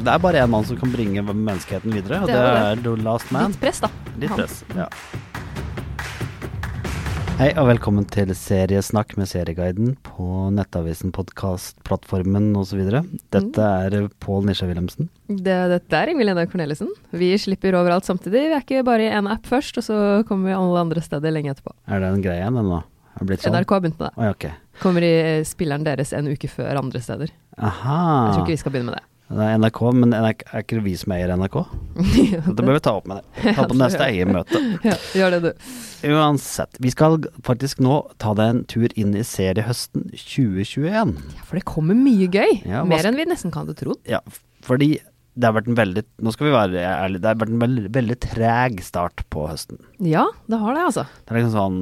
Det er bare én mann som kan bringe menneskeheten videre, og Det det er er The Last Man. Litt press, da. Litt Han. press, ja. Hei og velkommen til Seriesnakk med Serieguiden på Nettavisen, podkastplattformen osv. Dette Mm. er Pål Nisja Wilhelmsen. Det, dette er Ingvild Enda Cornelissen. Vi slipper overalt samtidig. Vi er ikke bare i én app først, og så kommer vi alle andre steder lenge etterpå. Er det en greie igjen ennå? Er det blitt sånn? NRK har begynt med det. Oi, ok. Kommer i eh, spilleren deres en uke før andre steder. Jeg Aha. tror ikke vi skal begynne med det. Det er NRK, men er det ikke vi som eier NRK? Det bør vi ta opp med det. Ta på Ja, neste eiermøte. ja, gjør det, du. Uansett, vi skal faktisk nå ta deg en tur inn i seriehøsten 2021. Ja, for det kommer mye gøy. Ja, hva Mer skal- enn vi nesten kan hadde trodd. Ja, fordi det har vært en veldig Nå skal vi være ærlige, det har vært en veldig, veldig treg start på høsten. Ja, det har det, altså. Det er liksom sånn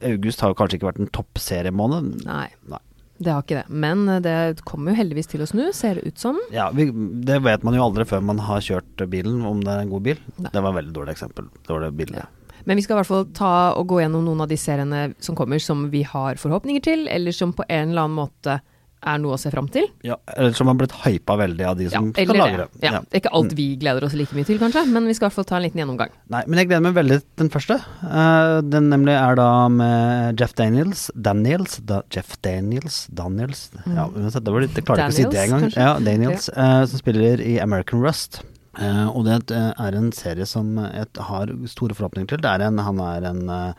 eh, August har jo kanskje ikke vært en toppseriemåned. Nei. Nei. Det har ikke det. Men eh, det kommer jo heldigvis til å snu, ser det ut som. Ja, vi, det vet man jo aldri før man har kjørt bilen, om det er en god bil. Nei. Det var et veldig dårlig eksempel. Dårlig bilde. Ja. Men vi skal i hvert fall ta og gå gjennom noen av de seriene som kommer som vi har forhåpninger til, eller som på en eller annen måte er noe å se fram til. Ja, eller som har blitt hypa veldig av de som skal eller lage det. Ja, det er ikke Mm. alt vi gleder oss like mye til, kanskje, men vi skal i hvert fall ta en liten gjennomgang. Nei, men jeg gleder meg veldig til den første. Eh, den nemlig er da med Jeff Daniels Daniels, da, Jeff Daniels Daniels Ja, uansett, det var litt, jeg klarer ikke å si det Mm. Daniels, engang. kanskje? Ja, Daniels, eh, som spiller i American Rust. Eh, og det eh, er en serie som jeg har store forhåpninger til. Det er en, han er en eh,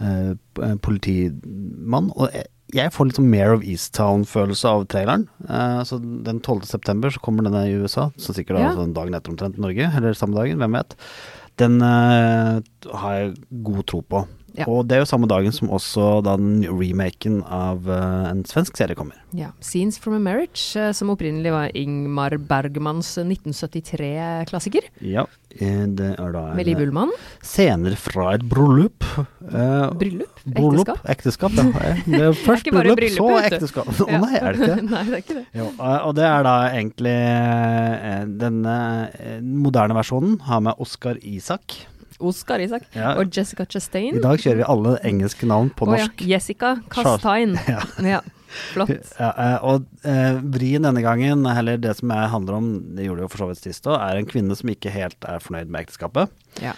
eh, p- eh, politimann. Og jeg- jeg får litt sånn Mare of Easttown-følelse av traileren. Eh, så den 12. september så kommer den i USA, så sikkert da Ja. altså den dagen etter omtrent i Norge, eller samme dagen, hvem vet. Den eh, har jeg god tro på. Ja. Og det er jo samme dagen som også da den remaken av eh, en svensk serie kommer. Ja. 'Scenes from a Marriage', eh, som opprinnelig var Ingmar Bergmans 1973-klassiker, Ja. Eh, Det er da med Liv en, Ullmann. scener fra et bryllup. Eh, Bryllup? bryllup? Ekteskap, Ekteskap? ja. Det er først ikke bryllup, bare bryllup, så vet du. ekteskap. Å Ja. nei, er det ikke det? Nei, det er ikke det. Jo, og og det er da egentlig eh, denne eh, moderne versjonen har med Oskar Isak. Oscar Isak Ja. og Jessica Chastain. I dag kjører vi alle engelske navn på Å norsk. Ja. Jessica Chastain. Ja. Ja. Flott. Ja, eh, og eh, vrien denne gangen, eller det som jeg handler om, det gjorde det jo for så vidt sist òg, er en kvinne som ikke helt er fornøyd med ekteskapet. Ja.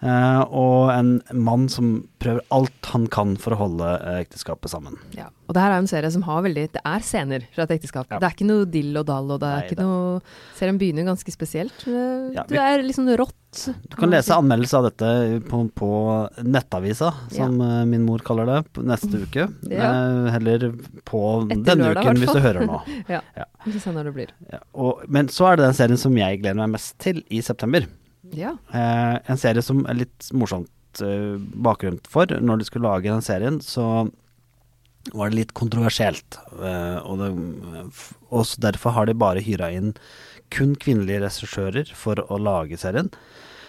Eh, og en mann som prøver alt han kan for å holde eh, ekteskapet sammen. Ja, og det her er jo en serie som har veldig Det er scener fra et ekteskap. Ja. Det er ikke noe dill og dall, og det er Nei, ikke det- noe Serien begynner jo ganske spesielt. men Ja, vi- Det er liksom rått. Du kan lese anmeldelse av dette på, på nettavisa, som eh, min mor kaller det, p- neste uke. Ja. Eh, heller på Etter denne lørdag, uken, hvis du hvertfall. hører nå. Ja. Ja. Vi får se når det blir. Ja, og, men så er det den serien som jeg gleder meg mest til i september. Ja. Eh, en serie som er litt morsomt eh, bakgrunn for. Når de skulle lage den serien, så var det litt kontroversielt. Eh, og, det, og så derfor har de bare hyra inn kun kvinnelige regissører for å lage serien.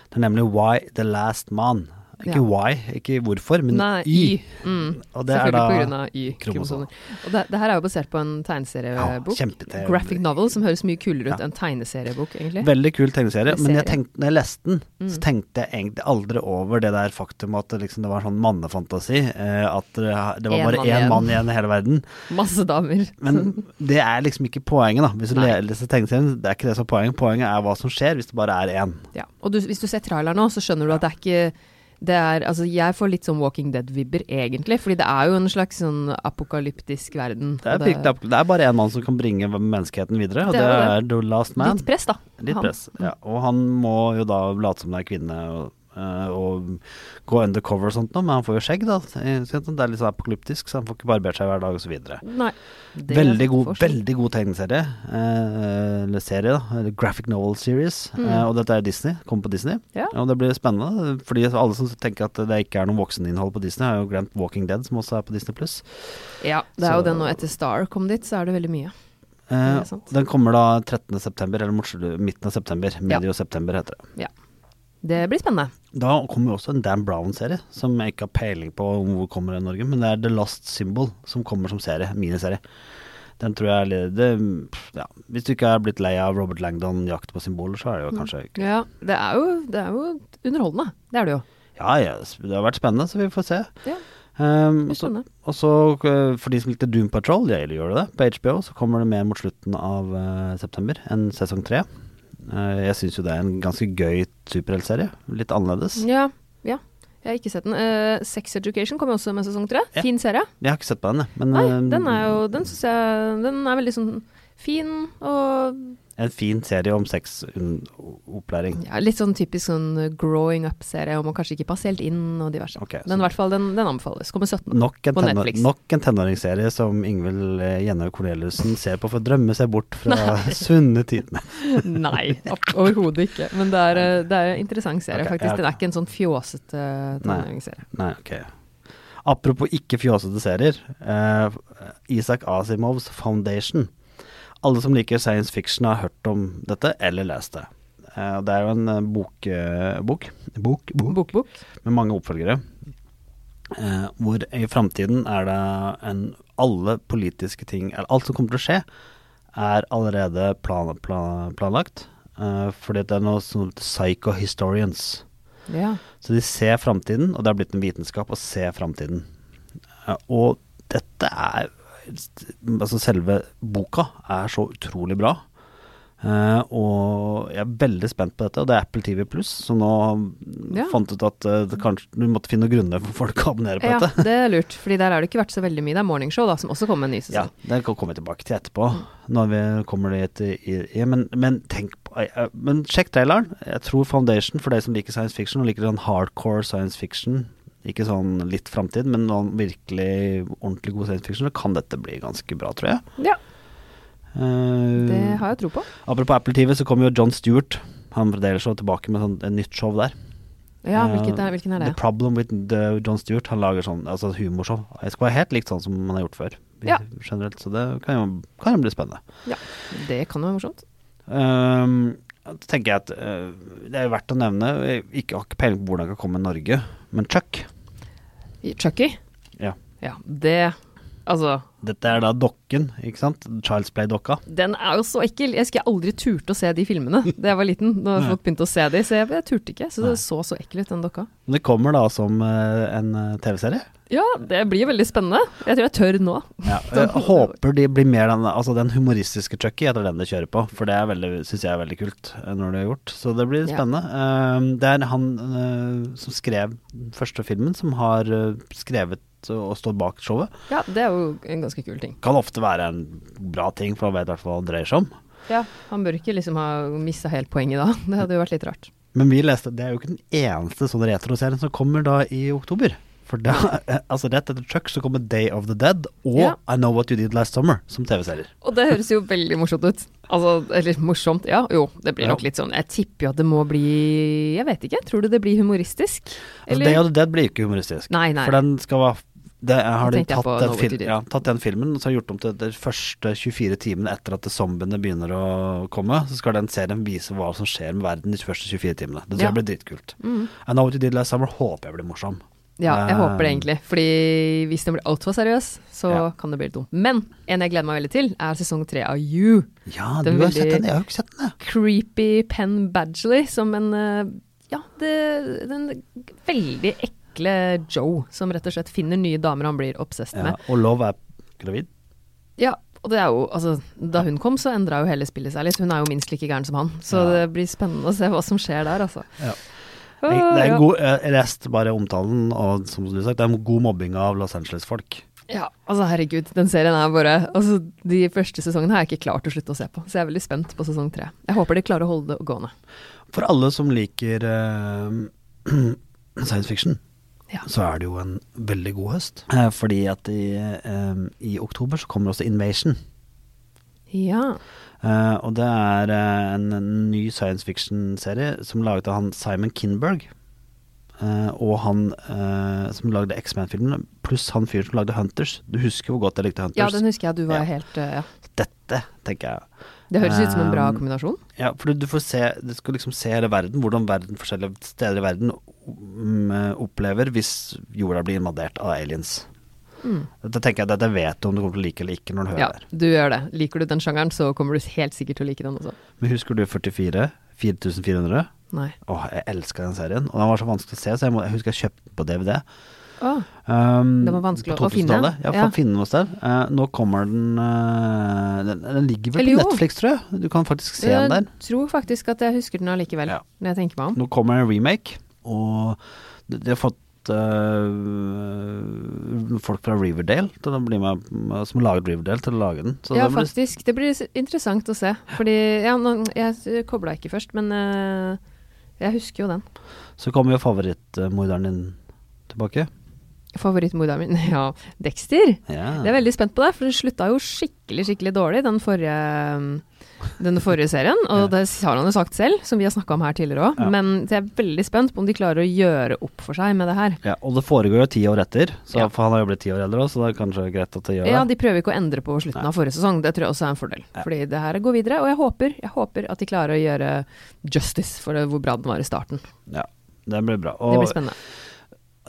Det er nemlig Why The Last Man. Ikke Ja. why, ikke hvorfor, men Nei, Y. Y. Mm. Og det er Selvfølgelig da pga. Y-kromosomer. Og det, det her er jo basert på en tegneseriebok. kjempete- Graphic novel, som høres mye kulere ut Ja. enn tegneseriebok, egentlig. Veldig kul tegneserie, Serie. Mm. men jeg tenkte, når jeg leste den, så tenkte jeg egentlig aldri over det der faktum at det liksom, det var sånn mannefantasi. eh, At det, det var En bare én mann igjen. mann igjen i hele verden. Masse damer. Men det er liksom ikke poenget, da. Hvis du Nei. leser tegneserien, det er ikke det som er poenget. Poenget er hva som skjer hvis det bare er én. Ja. Og du, hvis du ser traileren nå, så skjønner du at det er ikke det er, altså Jeg får litt sånn Walking Dead-vibber, egentlig. Fordi det er jo en slags sånn apokalyptisk verden. Det er, og virkelig- det er bare én mann som kan bringe menneskeheten videre, og Det det, er jo er The Last Man. Litt press, da. Litt Han. press. Ja. Og han må jo da late som det er kvinne og, eh, og gå undercover og sånt noe, men han får jo skjegg, da. Så Det er litt sånn apokalyptisk, så han får ikke barbert seg hver dag osv. Nei. det Veldig god, forstår- veldig god tegneserie. eh, eller serie, da. Eller graphic novel series. eh, og dette er Disney. Kommer på Disney. Mm. Ja. Og det blir spennende. eh, Fordi alle som tenker at det ikke er noe vokseninnhold på Disney, har jo glemt Walking Dead, som også er på Disney pluss. Ja. Det er jo Så- den nå etter Star kom dit, så er det veldig mye. Eh, Det er sant. den kommer da 13. september, eller mot slutt- midten av september. Ja. Medio september heter det. Ja. Det blir spennende. Da kommer jo også en Dan Brown-serie, som jeg ikke har peiling på om hvor kommer i Norge, men det er The Last Symbol som kommer som serie, miniserie. Den tror jeg er litt- det, ja. Hvis du ikke er blitt lei av Robert Langdon jakt på symboler, så er Mm. det jo kanskje ikke Ja, det er jo, det er jo underholdende. Det er det jo. Ja, ja, det har vært spennende, så vi får se. Ja. Um, Jeg så, skjønner. og så eh, for de som likte Doom Patrol, det gjør det, på HBO, så kommer det mer mot slutten av eh, september enn sesong tre. Eh, jeg syns jo det er en ganske gøy superheltserie. Litt annerledes. Ja, ja. Jeg har ikke sett den. Eh, Sex Education kommer også med sesong tre. Ja. Fin serie. Jeg har ikke sett på den, jeg. Men Nei, eh, den er jo Den syns jeg Den er veldig sånn fin og en fin serie om sexopplæring. ja, litt sånn typisk sånn growing up-serie, og man kanskje ikke passer helt inn og diverse. Ok, Men i så hvert fall, den, den anbefales. Kommer 17. nok en, på tenår, Netflix. nok en tenåringsserie som Ingvild eh, Jenhaug Corneliussen ser på for å drømme seg bort fra sunne tidene. Nei, opp- overhodet ikke. Men det er, eh, det er en interessant serie, Ok, faktisk. ja. Den er ikke en sånn fjåsete tenåringsserie. Nei, ok. Apropos ikke fjåsete serier. eh, Isak Asimovs Foundation. Alle som liker science fiction har hørt om dette eller lest det. Eh, det er jo en eh, bok, eh, bok, bok, bok Bokbok. med mange oppfølgere. Eh, hvor i framtiden er det en Alle politiske ting eller Alt som kommer til å skje, er allerede plan, plan, planlagt. Eh, fordi det er noe som heter psychohistorians. Ja. Så de ser framtiden, og det har blitt en vitenskap å se framtiden. Eh, Og dette er Altså selve boka er så utrolig bra. Eh, og jeg er veldig spent på dette, og det er Apple TV Pluss som nå Ja. fant ut at eh, det kanskje, du måtte finne noen grunner for folk å abonnere på ja, dette. det er lurt. Fordi der har det ikke vært så veldig mye. Det er Morningshow da, som også kommer med en ny Ja, sesong. det kan vi komme tilbake til etterpå. Når vi kommer dit i, i, i men, men tenk på eh, Men sjekk traileren. Jeg tror Foundation, for deg som liker science fiction, og liker sånn hardcore science fiction, ikke sånn litt framtid, men noen virkelig ordentlig god science fiction, så kan dette bli ganske bra, tror jeg. Ja, Eh, det har jeg tro på. Apropos Apple TV, så kommer jo John Stewart, han fra Daily Show, tilbake med sånn, et nytt show der. Ja, Eh, hvilket er, hvilken er det? The Problem with the John Stewart. Han lager sånn altså humorshow. Det skal være helt likt sånn som han har gjort før, Ja. generelt. Så det kan jo, kan jo bli spennende. Det kan jo være morsomt. Ehm, da tenker jeg at eh, det er verdt å nevne Jeg ikke, har ikke peiling på hvordan det kan komme i Norge, men Chuck I- Chucky? Ja. ja. Det Altså, Dette er da dokken, ikke sant? Child's Play-dokka. den er jo så ekkel. Jeg husker jeg aldri turte å se de filmene da jeg var liten. Når Nei. folk begynte å se de, så jeg, jeg turte ikke. Så Nei. det så så ekkel ut, den dokka. Men Det kommer da som eh, en eh, TV-serie. Ja, det blir veldig spennende. Jeg tror jeg tør nå. Ja, jeg håper de blir mer den, altså den humoristiske Chucky etter den de kjører på, for det syns jeg er veldig kult eh, når det er gjort. Så det blir Ja. spennende. Ehm, det er han eh, som skrev den første filmen, som har eh, skrevet og står bak showet. Ja, det er jo en ganske kul ting. Kan ofte være en bra ting, for han vet i hvert fall hva det dreier seg om. Ja, Han bør ikke liksom ha mista helt poenget da. Det hadde jo vært litt rart. Men vi leste, det er jo ikke den eneste sånn retroserien som kommer da i oktober. For da, altså rett etter Chuck så kommer Day of the Dead og Ja. I Know What You Did Last Summer som TV-serier. Og det høres jo veldig morsomt ut. Altså, eller morsomt, ja. Jo, det blir Ja. nok litt sånn Jeg tipper jo at det må bli Jeg vet ikke. Tror du det blir humoristisk? Altså, Day of the Dead blir ikke humoristisk. Nei, nei. For den skal være det har Da de tenkte jeg tatt, på den Know What fil, You Did. ja, tatt den filmen og så har gjort om til de første 24 timene etter at zombiene begynner å komme. Så skal den serien vise hva som skjer med verden de første 24 timene. Det tror Ja. jeg blir dritkult. Mm. I Know What You Did Last Summer håper jeg blir morsom. Ja, Eh, jeg håper det egentlig. Fordi hvis den blir altfor seriøs, så Ja. kan det bli litt dumt. Men en jeg gleder meg veldig til, er sesong tre av You. Ja, du Den har veldig- sett den, jeg har jo ikke sett den. jeg. Creepy Penn Badgley som en eh, Ja, det, den veldig ekle Joe som rett og slett finner nye damer han blir obsesst Ja, med. og Love er gravid. Ja, og det er jo Altså, da hun kom, så endra jo hele spillet seg litt. Hun er jo minst like gæren som han. Så Ja. det blir spennende å se hva som skjer der, altså. Ja. Åh, Jeg- Det er ja. en god, eh, jeg leste bare omtalen, og som du har sagt, det er en god mobbing av Los Angeles-folk. Ja, altså herregud, den serien er bare Altså, de første sesongene har jeg ikke klart å slutte å se på, så jeg er veldig spent på sesong tre. Jeg håper de klarer å holde det gående. For alle som liker eh, science fiction, Ja. så er det jo en veldig god høst. Eh, fordi at i, eh, i oktober så kommer også Invasion. Ja. Eh, og det er eh, en ny science fiction-serie som laget av han Simon Kinberg. eh, og han eh, som lagde X-Man-filmene, pluss han fyren som lagde Hunters. Du husker hvor godt jeg likte Hunters. ja, den husker jeg du Ja. var helt eh, ja. Dette, tenker jeg. Det høres ut som en bra Um, kombinasjon. Ja, for du, du får se Du skal liksom se hele verden, hvordan verden, forskjellige steder i verden mm, opplever hvis jorda blir invadert av aliens. Mm. Dette tenker jeg at dette vet du om du kommer til å like eller ikke når du hører Ja, det. du gjør det. Liker du den sjangeren, så kommer du helt sikkert til å like den også. Men husker du 44? 4400? Nei. Åh, jeg elska den serien. Og den var så vanskelig å se, så jeg, må, jeg husker jeg kjøpte den på DVD. Å, Um, Den var vanskelig på å finne. 2000-tallet. Ja, for Ja. å finne noe sted. Eh, nå kommer den eh, den, den ligger vel Eller jo. på Netflix, tror jeg. Du kan faktisk se den jeg der. tror faktisk at jeg husker den allikevel, Ja. når jeg tenker meg om. Nå kommer en remake, og de, de har fått eh, folk fra Riverdale til å bli med, som har laget Riverdale, til å lage den. Så ja, det blir- faktisk. Det blir s- interessant å se. Fordi ja, nå, Jeg kobla ikke først, men eh, jeg husker jo den. så kommer jo favorittmorderen din tilbake. Favorittmorderen min, ja, Dexter. Ja. Jeg er veldig spent på det, for det slutta jo skikkelig skikkelig dårlig, den forrige, mm, den forrige serien. Og Ja. det har han jo sagt selv, som vi har snakka om her tidligere òg. Ja. Men jeg er veldig spent på om de klarer å gjøre opp for seg med det her. Ja, og det foregår jo ti år etter, så, Ja. for han har jo blitt ti år eldre òg, så det er kanskje greit at de gjør Ja, det. De prøver ikke å endre på slutten Nei. av forrige sesong, det tror jeg også er en fordel. Ja. Fordi det her går videre, og jeg håper, jeg håper at de klarer å gjøre justice for det, hvor bra den var i starten. Ja, det blir bra. Det Og blir spennende.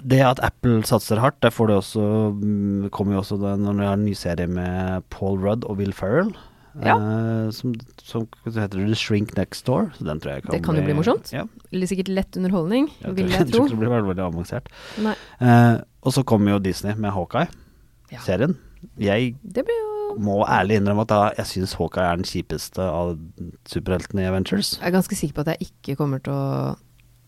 det at Apple satser hardt, det får det også, mm, kommer jo også det når de har en ny serie med Paul Rudd og Will Ferrell. Eh, som, som så heter det The Shrink Next Door. Så den tror jeg kan Det kan jo bli morsomt. Ja, Litt sikkert lett underholdning, jeg vil tror, jeg tro. tror det blir veldig, veldig avansert. Nei, Eh, og så kommer jo Disney med Hawkeye-serien. Ja. Jeg det blir jo må ærlig innrømme at da- jeg syns Hawkeye er den kjipeste av superheltene i Avengers. Jeg er ganske sikker på at jeg ikke kommer til å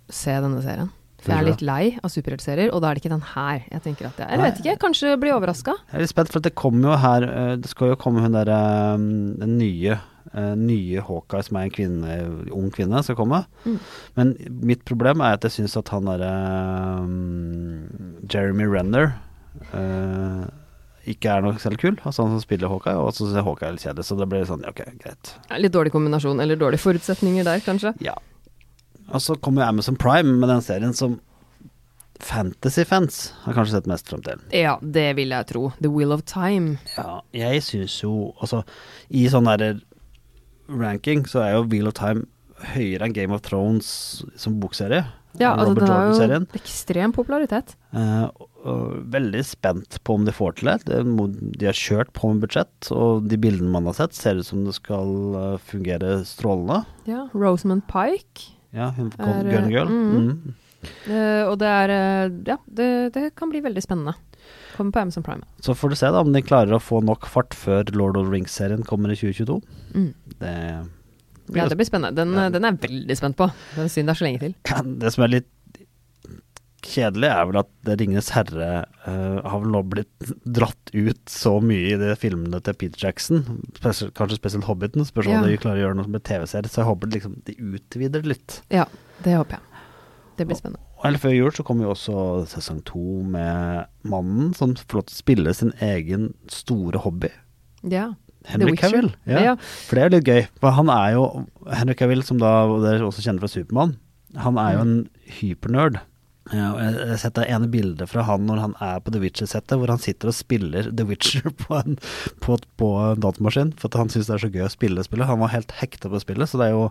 se denne serien. For jeg er Hvorfor litt lei av superheltserier, og da er det ikke den her. Jeg tenker at jeg, jeg Nei. vet ikke, kanskje blir overraska. Jeg er litt spent, for at det kommer jo her eh, Det skal jo komme hun derre Den nye eh, Nye Hawkeye, som er en kvinne, ung kvinne, skal komme. Mm. Men mitt problem er at jeg syns at han derre eh, Jeremy Renner eh, ikke er noe særlig kul. Altså han som spiller Hawkeye, og så syns jeg Hawkeye er litt kjedelig. Så det blir sånn, ja, ok, greit. Litt dårlig kombinasjon, eller dårlige forutsetninger der, kanskje. Ja. Og så kommer jo Amazon Prime med den serien som Fantasy-fans har kanskje sett mest frem til. Ja, det vil jeg tro. The Will of Time. Ja, jeg syns jo Altså, i sånn derre ranking så er jo Wheel of Time høyere enn Game of Thrones som bokserie. Ja, altså, Robert den har jo Jordan-serien. ekstrem popularitet. Eh, og- og veldig spent på om de får til det. det. må- De har kjørt på med budsjett, og de bildene man har sett, ser ut som det skal eh, fungere strålende. Ja, Rosamund Pike. Ja, hun kom, Er, eh, Gun Girl. mm. Mm. Eh, og det er eh, Ja, det, det kan bli veldig spennende. Kommer på Amazon Prime. Så får du se da om de klarer å få nok fart før Lord of the Rings-serien kommer i 2022. Mm. Det Ja, det blir spennende. Den, Ja. eh, den er jeg veldig spent på. Det er synd det er så lenge til. Ja, Det som er litt kjedelig, er vel at det 'Ringenes herre' eh, har vel nå blitt dratt ut så mye i de filmene til Peter Jackson. Spesielt, kanskje spesielt 'Hobbiten'. Spørs om Ja. de klarer å gjøre noe med TV-serie. Så jeg håper liksom de utvider det litt. Ja, det håper jeg. Det blir spennende. Og eller før jul så kommer jo også sesong to med mannen som får lov til å spille sin egen store hobby. Ja. Henry Witcher. Cavill. Ja. Ja. For det er jo litt gøy. For han er jo Henry Cavill, som da og dere også kjenner fra Supermann, han er jo en hypernerd. Ja, og jeg jeg har sett det ene bildet fra han når han er på The Witcher-settet, hvor han sitter og spiller The Witcher på en, på, på en datamaskin. For at han syns det er så gøy å spille spillet. Han var helt hekta på spillet, så det er jo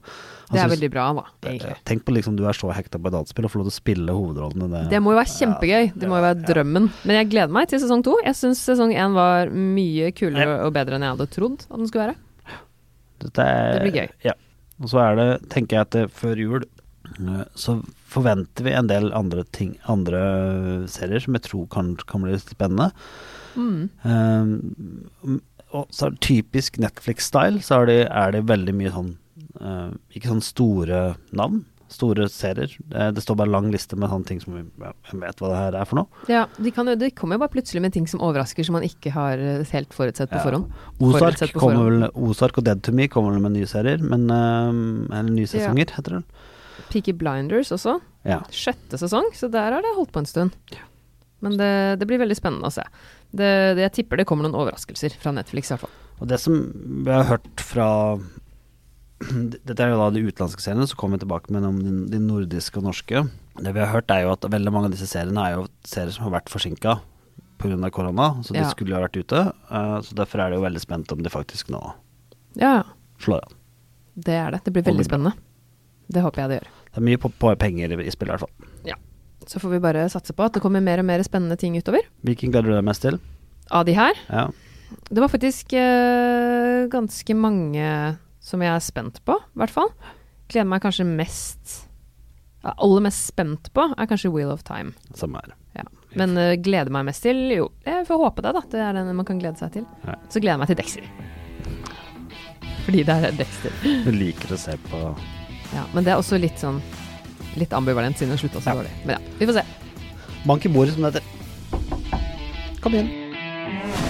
han Det er synes- veldig bra, da, Ja, egentlig. Tenk på liksom du er så hekta på et dataspill og får lov til å spille hovedrollen i det. Det må jo være kjempegøy. Det må jo være drømmen. Men jeg gleder meg til sesong to. Jeg syns sesong én var mye kulere og bedre enn jeg hadde trodd at den skulle være. Dette er, Det blir gøy. Ja. Og så er det, tenker jeg at det, før jul eh, så forventer vi en del andre ting, andre serier som jeg tror kan, kan bli litt spennende. Mm. Eh, og så er det typisk Netflix-style, så er det, er det veldig mye sånn eh, Ikke sånn store navn, store serier. Eh, det står bare lang liste med sånne ting som vi ja, jeg vet hva det her er for noe. Ja, de, kan jo, de kommer jo bare plutselig med ting som overrasker, som man ikke har eh, helt forutsett på Ja. forhånd. Ozark, Forutsett på kommer vel, forhånd. Ozark og Dead to Me kommer vel med nye serier, men eh, Eller nye Ja. sesonger, heter det. Peaky Blinders også. Ja. Sjette sesong, så der har det holdt på en stund. Men det, det blir veldig spennende å se. Det, det, jeg tipper det kommer noen overraskelser fra Netflix, i hvert fall. Og det som vi har hørt fra Dette er jo da de utenlandske seriene, så kommer vi tilbake med noen om de de nordiske og norske. Det vi har hørt er jo at veldig mange av disse seriene er jo serier som har vært forsinka pga. korona, så de Ja. skulle jo ha vært ute. eh, Så derfor er det jo veldig spent om de faktisk nå Ja, ja. slår an. Det er det. Det blir veldig Det blir spennende. Det håper jeg det gjør. Det er mye på, på penger i i spillet i hvert fall. Så får vi bare satse på at det kommer mer og mer spennende ting utover. Hvilken gleder du deg mest til? Av de her. Ja. Det var faktisk eh, ganske mange som jeg er spent på, i hvert fall. Gleder meg kanskje mest jeg er Aller mest spent på er kanskje Wheel of Time. Samme her. Ja. Men eh, gleder meg mest til Jo, jeg får håpe det, da. Det er den man kan glede seg til. Ja. Så gleder jeg meg til Dexter. Fordi det er Dexter. Du liker å se på Ja, men det er også litt sånn Litt ambivalent siden den slutta så Ja. dårlig. Men ja, vi får se. Bank i bordet, som det heter. Kom igjen.